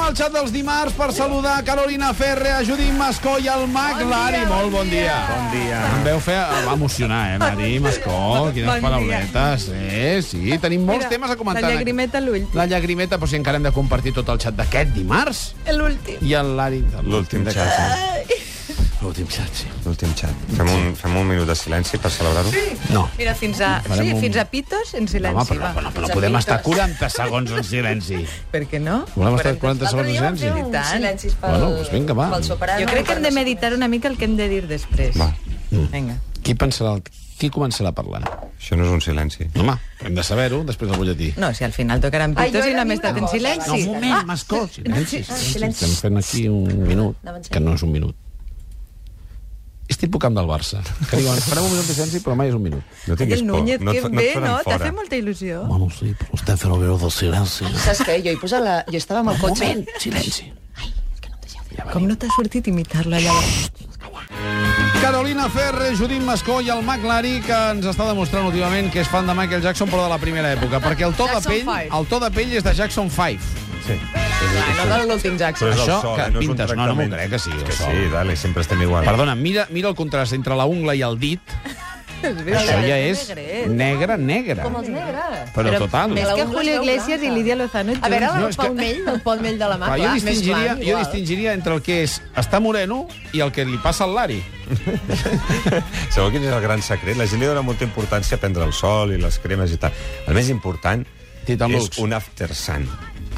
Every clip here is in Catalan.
al xat dels dimarts per saludar Carolina Ferre, a Judit Mascó i al Mac Bon dia, Lari. Molt bon bon dia. dia. Bon dia. Em veu fer emocionar, eh, Mari Mascó? Quines Bon dia. parauletes. Eh, sí, tenim molts Mira, temes a comentar. La llagrimeta a l'ull. La llagrimeta, però si encara hem de compartir tot el xat d'aquest dimarts. L'últim. I el Lari... L'últim xat, eh? L'últim xat, sí. L'últim xat. Fem un, fem un minut de silenci per celebrar-ho? Sí. No. Mira, fins a... Farem Sí, un- fins a pitos en silenci. Home, però, va. però, però Fins a podem pitos. estar 40 segons en silenci. Per què no? Volem estar 40 segons en silenci? fer un silenci Bueno, doncs vinga, va. Pel sopar, Jo crec que hem de meditar una mica el que hem de dir després. Va, Mm. Vinga. Qui pensarà... El... Qui començarà parlant? això no és un silenci. Home, hem de saber-ho després del butlletí. No, si al final tocaran Ai, pitos jo i era només una estat en No, cosa. silenci. un moment, ah, Mascó, silenci, silenci. Estem fent aquí un minut, Anava en silenci. que no és un minut. És tipus camp del Barça, que diuen, farem un minut de silenci, però mai és un minut. No tinguis el por. Núñez, no, que et fa- no bé, et faran no? T'ha fora. fet molta il·lusió. Bueno, sí, però estem fent el greu del silenci. Saps què? Jo, hi posa la... jo estava amb el cotxe... silenci. Com no t'ha sortit imitar-la allà? Carolina Ferre, Judit Mascó i el Mac Lari, que ens està demostrant últimament que és fan de Michael Jackson, però de la primera època, perquè el to, de Jackson pell, Five. el to de pell és de Jackson 5. Sí. No de l'últim Jackson. Però és el Això sol, que eh? no és un pintes, no, no m'ho tractament. crec que sigui el Que sol. sí, dale, sempre estem igual. Perdona, mira, mira el contrast entre la ungla i el dit. Això ja és eh? negre, negre. Com els negres. Però total. Més la que ungla es Julio veu Iglesias i blanca. Lídia Lozano. A veure, No, no, és el que- Pau Mell, el Pau Mell de la mà, Clar, jo clar, més distingiria, blanc, jo igual. distingiria entre el que és està moreno i el que li passa al Lari. Sabeu quin és el gran secret? La gent li dona molta importància a prendre el sol i les cremes i tal. El més important Titan és Lux. un after sun.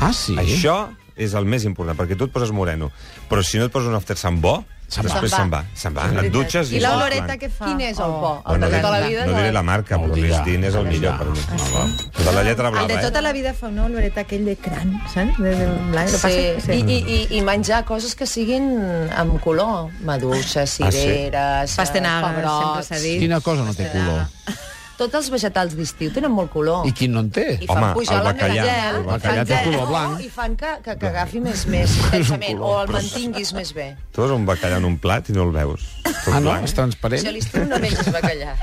Ah, sí? Això és el més important, perquè tu et poses moreno, però si no et poses un after sun bo, Se'n va. després Se'n se'n va. va. Se'n va. Et dutxes i... I la estàs oloreta blanc. que fa? Oh. Quin és el por? El Bueno, de tota la no, vida? no diré la marca, No però ho dirà. l'Isdin és el millor. Per mi. El de la lletra El de blava, tota eh? la vida fa una oloreta aquell de cran, saps? De, de blanc. Sí, Sí. Passa, I, sí. i, i, i menjar coses que siguin amb color. Maduixes, Ah, sí? cireres, Pastenagues, sempre pebrots... s'ha dit. Quina cosa no té color? Tots els vegetals d'estiu tenen molt color. I quin no en té? I Home, fan pujar el la bacallà, mel, el bacallà fan té que- color no, blanc. I fan que, que, que agafi més, més intensament, o el mantinguis més bé. Tu has un bacallà en un plat i no el veus. Tot Ah, no? blanc. És Si a transparent? l'estiu no menges bacallà.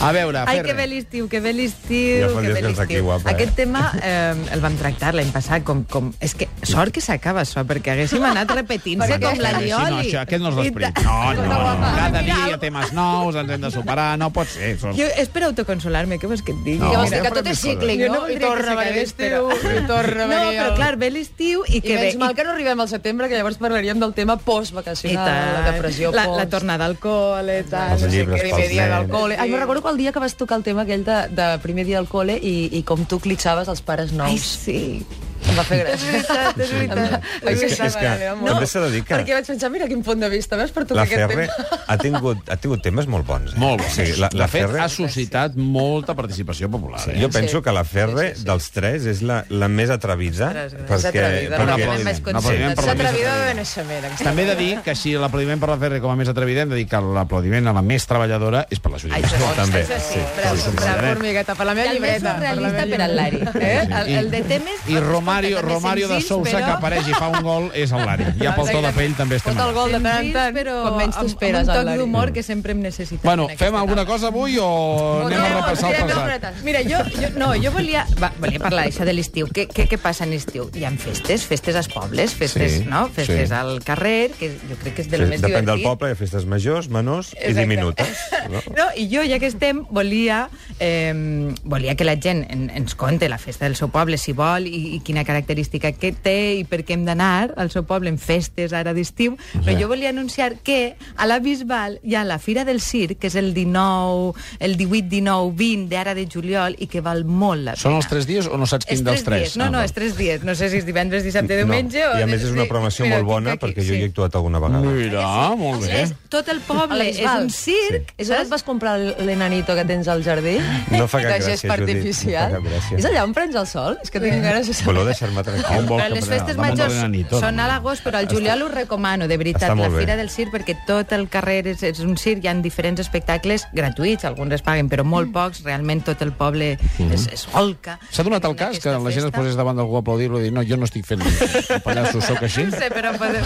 A veure, Ai, que Ferre. bé l'estiu, que bé Ja l'estiu, fa que dies bé que està aquí, l'estiu. guapa, eh? Aquest tema eh, el vam tractar l'any passat com, com... És que sort que s'acaba això, perquè haguéssim anat repetint-se com la Sí, no, Lioli. això, aquest no és l'esperit. I ta- No, no, no. Cada dia temes nous, ens hem de superar, no pot ser. Sos... Jo espero autoconsolar-me, què vols que et digui? No. Mira, No, que vols dir mira, que tot però és cíclic, Jo no? no I voldria torna que a venir s'acabés, l'estiu, i torna a No, venir... però el- clar, ve l'estiu i I que ve... menys mal que no arribem al setembre, que llavors parlaríem del tema i post-vacacional, tant. la depressió la, post... la tornada al col·le, tal. Els no sé llibres què. pels primer dia del nens. col·le. Ai, me recordo que el dia que vas tocar el tema aquell de, de primer dia al col·le i, i com tu clitxaves els pares Ai, nous. sí. Em va fer gràcia. veritat, és veritat. És que, és que No, també s'ha de dir que... Perquè vaig pensar, mira quin punt de vista, veus, La per tocar aquest Ferre tema. ha tingut, ha tingut temes molt bons. Eh? Molt bo. O sigui, la, la de fet, Ferre... ha suscitat molta participació popular. Eh? Jo penso Sí. que la Ferre, dels tres, és la, la més atrevida. Més perquè- atrevida, però Un perquè... aplaudiment, més un conscient. aplaudiment per la Més atrevida Lluïsa. de naixement. aquesta. També he de dir que si l'aplaudiment per la Ferre com a més atrevida, hem de dir que l'aplaudiment a la més treballadora és per la Judit. Mascó. També. Sí, Sí, bravo, Doncs sí, sí. bravo, formigueta, per la meva El més llibreta. per la meva surrealista per al Lari. Eh? El, el de temes... I Romario, també Romario de senzills, Sousa, però- que apareix i fa un gol, és el Lari. Ja pel to de pell també estem... Fot el gol de tant en senzills, tant, però quan menys t'ho amb- esperes, Amb un el toc Lari. d'humor que sempre hem necessitat. Bueno, en aquesta fem alguna cosa avui o anem a repassar el passat? Mira, jo, jo, no, jo volia, va, volia parlar això de l'estiu. Què, què, què passa en estiu? Hi ha festes, festes als pobles, festes, Sí, no? festes sí. al carrer, que jo crec que és de lo Sí, més depèn divertit. del poble, hi ha festes majors, menors i Exacte. diminutes. No? No, I jo, ja que estem, volia, eh, volia que la gent en, ens conte la festa del seu poble, si vol, i, i quina característica que té i per què hem d'anar al seu poble en festes ara d'estiu. Però jo volia anunciar que a la Bisbal hi ha la Fira del Circ, que és el 19, el 18, 19, 20 d'ara de juliol i que val molt la pena. Són els tres dies o no saps És quin dels tres? Ah, Dies. No, no, és tres dies. No sé si és divendres, dissabte, diumenge... Ah, No. o... I a més és una sí, programació mira, molt bona, tinc aquí, perquè jo sí. hi he actuat eh? alguna vegada. Mira, molt bé. És, tot el A la poble és Bisbal. un circ, És on et vas comprar l'enanito que tens al jardí? No fa cap de gest gràcia, Judit, artificial. no fa cap gràcia. Eh. és allà on prens el sol? És que tinc ganes de Voleu deixar-me On tranquil? vols Però que les prenem? festes Damunt de majors la nit, tot, són a no? l'agost, però al juliol ho recomano, de veritat, Està la molt bé. Fira del Circ, perquè tot el carrer és, és un circ, hi ha diferents espectacles gratuïts, alguns es paguen, però molt Mm. pocs, realment tot el poble es, es holca. Mm-hmm. S'ha donat el en cas que aquesta la gent es festa. posés davant d'algú a aplaudir-lo i dir no, jo no estic fent el pallasso, sóc així? No sé, però podem...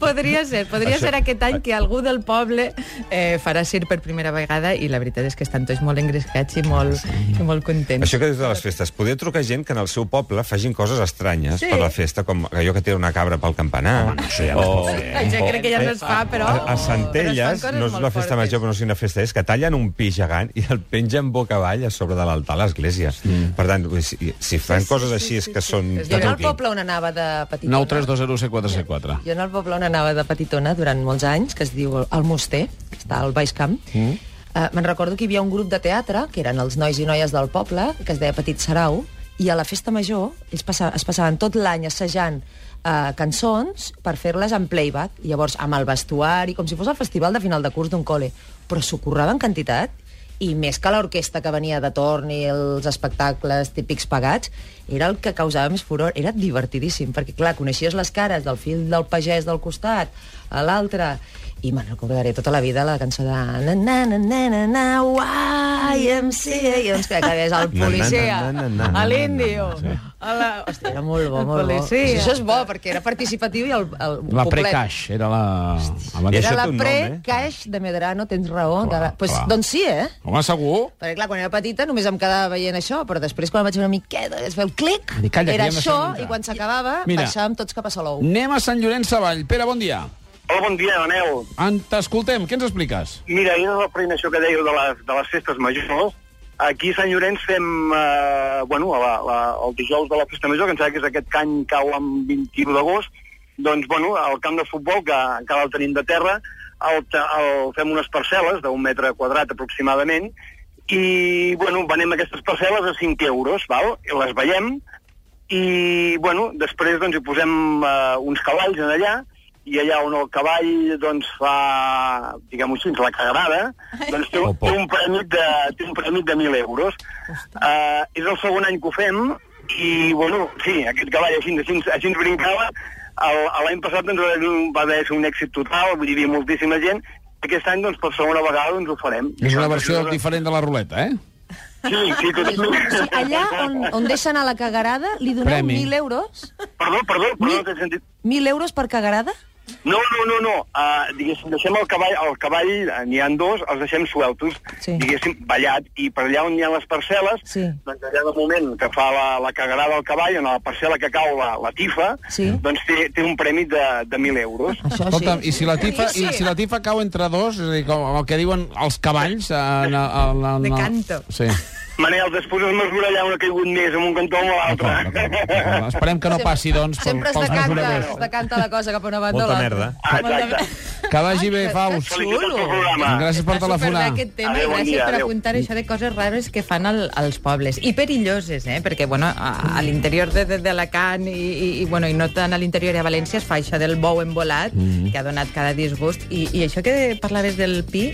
podria ser. Podria ser aquest any que algú del poble eh, farà circ per primera vegada i la veritat és que estan tots molt engrescats i molt, i molt contents. Això que dius de les festes, poder trucar gent que en el seu poble pel·lícula facin coses estranyes sí. per la festa, com allò que tira una cabra pel campanar. Home, no, això ja no eh? es pot fer. Ai, jo crec que ja no es fa, però... A, a però Centelles, es fan coses no és molt una festa fortes. major, però no sé quina festa és, que tallen un pi gegant i el pengen boca avall a sobre de l'altar a l'església. Mm. Per tant, si, si fan sí, coses així és que són... Jo de en el tot poble on anava de petitona... 9 3 2 0 C 4 C 4 Jo en el poble on anava de petitona durant molts anys, que es diu El Moster, que està al Baix Camp, mm. uh, me'n recordo que hi havia un grup de teatre, que eren els nois i noies del poble, que es deia Petit Sarau, i a la festa major ells passa, es passaven tot l'any assajant uh, cançons per fer-les en playback, llavors amb el vestuari, com si fos el festival de final de curs d'un col·le, però s'ho curraven quantitat i més que l'orquestra que venia de torn i els espectacles típics pagats, era el que causava més furor. Era divertidíssim, perquè, clar, coneixies les cares del fill del pagès del costat a l'altre, i me'n recordaré tota la vida la cançó de na na na na na na YMCA i doncs que acabés Na, el na, na, policia na, na, na, na, na, l'indio na, na. a la... hòstia era molt bo, El molt bo policia. això és bo perquè era participatiu i el, el La poblet- pre-cash era la... abans- I era això la té un nom, eh? pre-caix de Medrano tens raó Clar, de la... pues, clar. doncs sí, eh? Home, segur. Perquè, clar, quan era petita només em quedava veient això, però després, quan vaig fer una miqueta, es veu el clic, Vull dir, calla, que era ja hem de això, fer menjar. i quan s'acabava, Mira. baixàvem tots cap a Salou. Anem a Sant Llorenç Savall. Pere, bon dia. Hola, bon dia, Manel. En- T'escoltem, què ens expliques? Mira, és la primera això que dèieu de les, de les festes majors. Aquí a Sant Llorenç fem, eh, bueno, a la, la, el dijous de la festa major, que em sembla que és aquest cany cau amb 21 d'agost, doncs, bueno, al camp de futbol, que encara el tenim de terra, el, te- el, fem unes parcel·les d'un metre quadrat aproximadament, i, bueno, venem aquestes parcel·les a 5 euros, val? I les veiem, i bueno, després doncs, hi posem eh, uns cavalls en allà i allà on el cavall doncs, fa, diguem-ho així, la cagada, doncs té, Oh, té, por. un prèmit de, té un prèmit de 1.000 euros. Uh, és el segon any que ho fem i, bueno, sí, aquest cavall així, així, així ens brincava. El- L'any passat doncs, va haver- va haver un èxit total, vull dir, hi havia moltíssima gent. Aquest any, doncs, per segona vegada, doncs, ho farem. És una versió diferent de la ruleta, eh? Sí, sí, tot... O sigui, allà on, on deixa anar la cagarada, li doneu Premi. 1.000 euros? Perdó, perdó, perdó, no t'he sentit. 1.000 euros per cagarada? No, no, no, no. Uh, diguéssim, deixem el cavall, el cavall eh, n'hi han dos, els deixem sueltos, Sí. sí. diguéssim, ballat, i per allà on hi ha les parcel·les, Sí. doncs allà de moment que fa la, la cagarada del cavall, en la parcel·la que cau la, la tifa, Sí. doncs té, té un premi de, de 1.000 euros. Això Escolta'm, sí. i si la tifa, i si la tifa cau entre dos, és a dir, com el que diuen els cavalls... eh, En, en, en, en, De canto. Sí. Manel, després es mesura allà on ha caigut més, en un cantó o en D'acord, l'altre. d'acord, d'acord. Esperem que no passi, doncs, pel, Sempre es pels decanta, mesuradors. es decanta la cosa cap a una banda o Molta l'altra. merda. Ah, exacte. Que vagi bé, Faust. Felicitats pel programa. Gràcies per Està telefonar. superbé Aquest tema, Adéu, adéu, bon gràcies dia, per adéu. apuntar això de coses rares que fan al, als pobles. I perilloses, eh? Perquè, bueno, a, a l'interior de, de, de Alacant i, i, i, bueno, i no tant a l'interior i a València es fa això del bou embolat, Mhm. mm -hmm. que ha donat cada disgust. I, I això que parlaves del pi,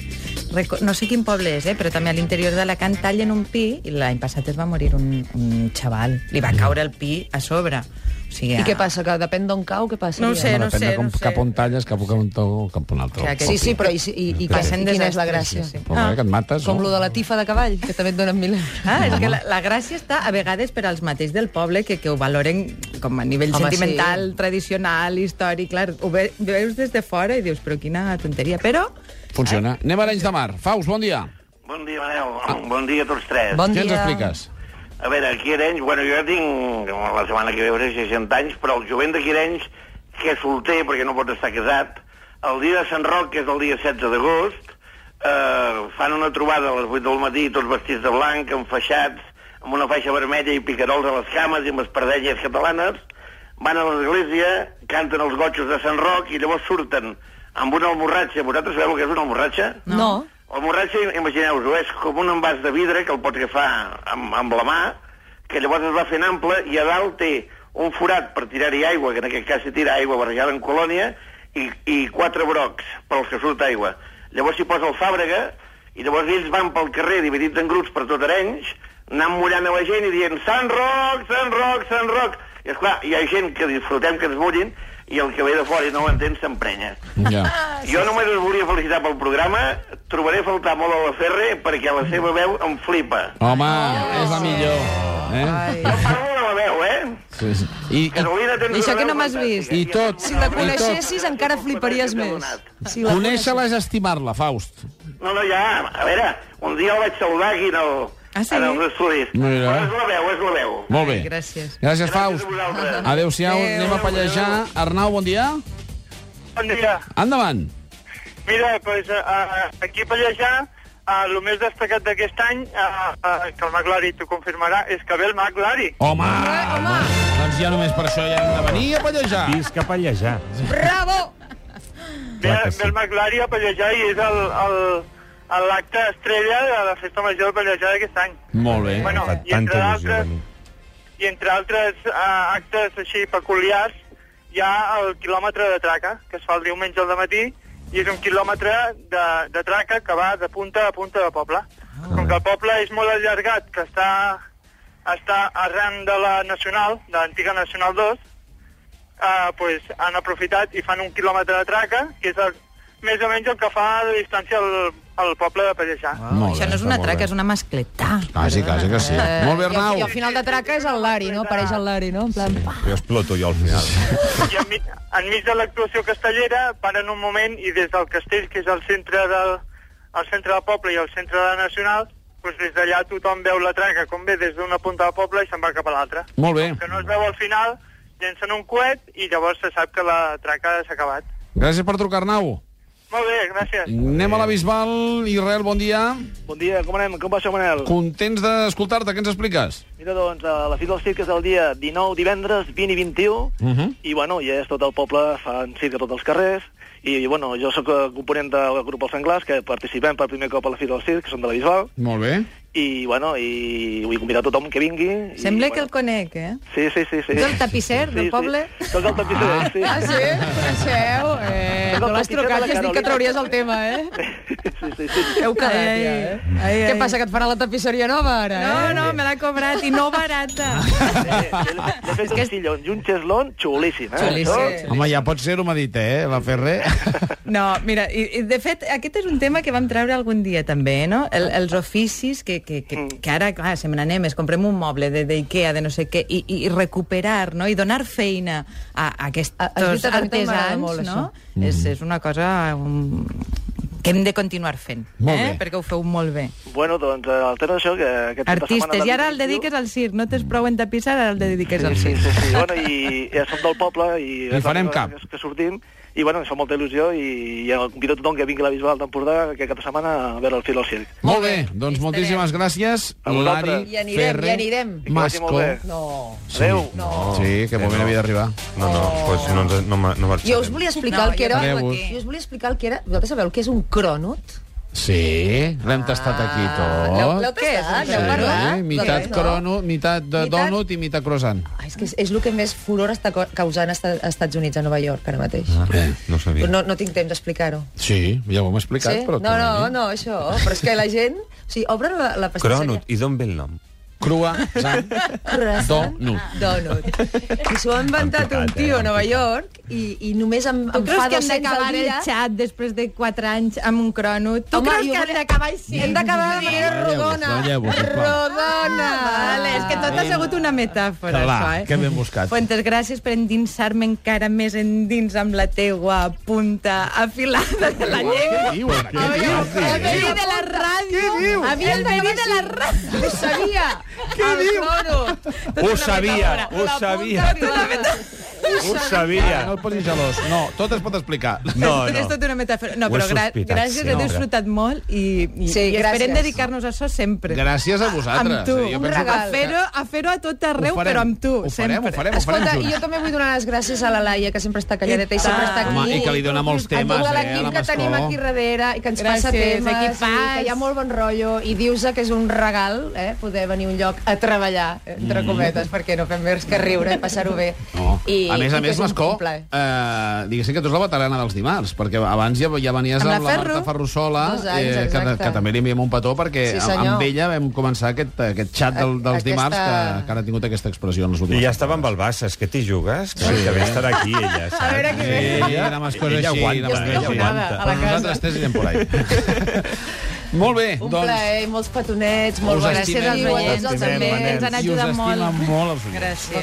reco- no sé quin poble és, eh? però també a l'interior d'Alacant tallen un pi i l'any passat es va morir un, un xaval. Li va caure el pi a sobre. O sigui, I què passa? Que depèn d'on cau, què passa? No ho sé, Home, no depèn de sé, com, no sé. cap on talles, cap a un to o cap a un O altre. sigui, aquest- Sí, sí, però i, si- i, i, i Passen quina és la desastres, gràcia? sí, sí. Però ah. que et mates, Com no? lo de la tifa de cavall, que també et donen 1.000 euros. Ah, és que la, la gràcia està a vegades per als mateixos del poble que, que ho valoren com a nivell Home, Home, sentimental, sí. tradicional, històric, clar, ho ve, veus des de fora i dius, però quina tonteria, però Ah. Funciona. Anem a Arenys de Mar. Faust, bon dia. Bon dia, Manel. Bon dia a tots tres. Bon Què ens dia. expliques? A veure, a Quirenys, bueno, jo ja tinc la setmana que ve hauré 60 anys, però el jovent de Quirenys, que és solter perquè no pot estar casat, el dia de Sant Roc, que és el dia 16 d'agost, eh, fan una trobada a les 8 del matí, tots vestits de blanc, enfaixats, amb una faixa vermella i picarols a les cames i amb espardenyes catalanes, van a l'església, canten els gotxos de Sant Roc i llavors surten amb una almorratxa. Vosaltres sabeu què és una almorratxa? No. El borratxo, imagineu-vos, és com un envàs de vidre que el pot agafar amb, amb la mà, que llavors es va fent ample i a dalt té un forat per tirar-hi aigua, que en aquest cas s'hi tira aigua barrejada en colònia, i, i quatre brocs pels que surt aigua. Llavors s'hi posa el fàbrega i llavors ells van pel carrer dividits en grups per tot Arenys, anant mullant a la gent i dient Sant Roc, Sant Roc, Sant Roc. I esclar, hi ha gent que disfrutem que ens mullin i el que ve de fora i no ho entén s'emprenya. Ja. Ah, Jo només us volia felicitar pel programa. Trobaré a faltar molt a la Ferre perquè la seva veu em flipa. Home, és la millor. Eh? Jo parlo de la veu, eh? Sí, sí. I, i Carolina, tens I això una que veu no m'has fantàstica. vist. I tot. Si la I tot. coneixessis, encara fliparies Competència més. t'ha donat. Si conèixer-la és estimar-la, Faust. No, no, ja, a veure, un dia el vaig saludar aquí en el, Ah, sí? en els estudis. Mira. Però és la veu, és la veu. Molt bé. Ai, gràcies. Gràcies, Gràcies Faust. a vosaltres. Adéu-siau, Adéu. anem a pallejar. Arnau, bon dia. Bon dia. Endavant. Mira, pues, uh, aquí a Pallejà, uh, el més destacat d'aquest any, uh, uh, que el Maglari t'ho confirmarà, és que ve el Maglari. Home! home. Doncs ja només per això ja hem de venir a pallejar. Visca Pallejà. Bravo! Ve, Clar que sí. ve el Maglari a Pallejà i és el... el el- l'acte estrella de la Festa Major de Pallejà d'aquest any. Molt bé. Bueno, eh? Fa i tanta entre il·lusió d'altres- venir. I entre altres uh, actes així peculiars hi ha el quilòmetre de traca, que es fa el diumenge al matí i és un quilòmetre de, de traca que va de punta a punta de poble. Ah. Com que el poble és molt allargat, que està, està arran de la Nacional, de l'antiga Nacional 2, eh, pues, han aprofitat i fan un quilòmetre de traca, que és el, més o menys el que fa de distància al, al poble de Pallejà. Molt Oh, Això bé, no és està una molt traca, bé. és una Eh, mascletà. Quasi, quasi que sí. Molt bé, I, Arnau. al final de traca és el Lari, no? Apareix el Lari, no? En plan... Sí. Jo exploto jo al final. I enmig, enmig de l'actuació castellera paren un moment i des del castell, que és el centre del, el centre del poble i el centre de la Nacional, doncs des d'allà tothom veu la traca com ve des d'una punta del poble i se'n va cap a l'altra. Molt bé. Que no es veu al final, llencen un coet i llavors se sap que la traca s'ha acabat. Gràcies per trucar, Arnau. Molt bé, gràcies. Anem a la Bisbal. Israel, bon dia. Bon dia, com anem? Com va això, Manel? Contents d'escoltar-te. Què ens expliques? Mira, doncs, a la fi del circ és el dia 19, divendres, 20 i 21, uh Mhm. -huh. i, bueno, ja és tot el poble, fan circ a tots els carrers, i, bueno, jo sóc eh, component del grup Els Senglars, que participem per primer cop a la fi del circ, que són de la Bisbal, Molt bé. i, bueno, i vull convidar tothom que vingui. Sembla i, que el conec, eh? Sí, sí, sí. sí. Tu el tapisser Sí, del sí. poble? Soc el tapisser, sí. Ah, sí? Coneixeu? Eh, no l'has trucat i has dit que trauries el tema, eh? sí, sí, sí. Heu quedat, ai, ja, eh? Ai, ai. Què passa, que et farà la tapisseria nova, ara, No, eh? no, me l'ha cobrat i no barata. Eh, L'he fet un sillon i un xeslon xulíssim, eh? Xulíssim. Això- Sí. Home, ja pot ser-ho, m'ha dit, eh, la Ferrer. No, mira, i, i de fet, aquest és un tema que vam treure algun dia també, no? El, els oficis que, que, que, Mm. que ara, clar, se me n'anem, es comprem un moble de- d'Ikea, de, no sé què, i, i recuperar, no?, i donar feina a, a aquests A- has dit, a mi també m'agrada artesans, molt, no? Mm. És, és una cosa um, que hem de continuar fent, Molt eh? bé. Perquè ho feu molt bé. Bueno, doncs, eh, el tema d'això, que... Aquest cap de setmana Artistes, del i ara el 21, dediques al circ, no tens prou en tapissar, ara el dediques al Sí, circ. sí, sí. Bueno, i ja som del poble i... Hi farem és la primera cap. vegada Que sortim, i bueno, ens fa molta il·lusió i ja convido tothom que vingui a la Bisbal d'Empordà aquest cap de setmana a veure el fil al circ. Molt bé, doncs moltíssimes gràcies, A vosaltres. Lari, I anirem, Ferrer, i anirem. I que vagi Masco. molt bé. No. Sí. Adéu. Sí, que moment havia d'arribar. No, no, pues no, ens- no, ma- no marxarem. Jo us volia explicar No, el que era... jo també. Jo us volia explicar el que era... Vosaltres sabeu el que és un crònot? Sí, l'hem tastat aquí tot. Ah, L'heu l'heu tastat? Sí, N'heu parlat? Doncs mitat No. crono, mitat de Mitat- donut i mitat croissant. Ah, és que és, és el que més furor està co- causant a esta- a Estats Units, a Nova York, ara mateix. Eh, No sabia. Però no, no tinc temps d'explicar-ho. Sí, ja ho hem explicat, Sí? però... No, no, tornem-hi. no, això. oh, Però és que la gent... O sigui, obren la, la pastisseria... Cronut, i d'on ve el nom? Crua, sang, Croissant. Donut. Ah, Donut. I s'ho ha inventat Complicat, un eh? tio a Nova York i, i només em, Tu em creus fa que hem 200 d'acabar al el dia... xat després de 4 anys amb un crono? Tu Home, creus jo que hem volia- d'acabar així? Hem d'acabar de manera Balleu-vos, rodona. balleu-vos, sisplau. Rodona. Vale, és que tot ha sigut una metàfora, Clar, això, eh? que ben buscat. Fuentes, gràcies per endinsar-me encara més endins amb la teua punta afilada de la llengua. Què diu? Què diu? El veí de la ràdio. Havia el veí de la ràdio. Ho sabia. Què diu? Ho sabia, ho sabia. Ho sabia. No et posis gelós. No, tot es pot explicar. No, és, és no. tot una metàfora. No, Ho he però gra sospitat, gràcies, sí, he no, disfrutat molt i, i, Sí, i esperem gràcies. dedicar-nos a això sempre. Gràcies a amb vosaltres. tu. Eh, Un penso que- A regal. fer-ho a, fer a tot arreu, Ho farem, però amb tu, ho farem, sempre. ho farem, ho farem Escolta, junts. i jo també vull donar les gràcies a la Laia, que sempre està calladeta i, I sempre tant. està aquí. Ah. Home, i que li dona molts temes, eh, a tot a la l'equip que Mascó. tenim aquí darrere i que ens Gràcies, passa temes, aquí i fas. que hi ha molt bon rotllo, i dius que és un regal eh, poder venir a un lloc a treballar, eh, entre cometes, perquè no fem més que riure i passar-ho bé. Mm. No. I, a més a i que més, és un Mascó, plaer. eh, diguéssim que tu és la veterana dels dimarts, perquè abans ja, ja venies Amb amb, la la Ferro. Marta Ferrusola, eh, Dos anys, que, exacte. que també li enviem un petó, perquè Sí, amb- senyor. amb ella vam començar aquest, aquest xat del, dels Aquesta- dimarts que, que ara ha tingut aquesta expressió en les I últimes. ja estava amb el Bassa, és que t'hi jugues? Sí. Que bé estar aquí, ella, saps? A veure Sí, ella era més cosa Ella així. aguanta, era més ella cosa així. aguanta. Però nosaltres tres anirem por ahí. Molt bé, Un doncs... plaer, i molts petonets, us molt Gràcies estimem als molt. oients, Us també, estimem, ens han I us ajudat molt. estimen molt els oients. Gràcies.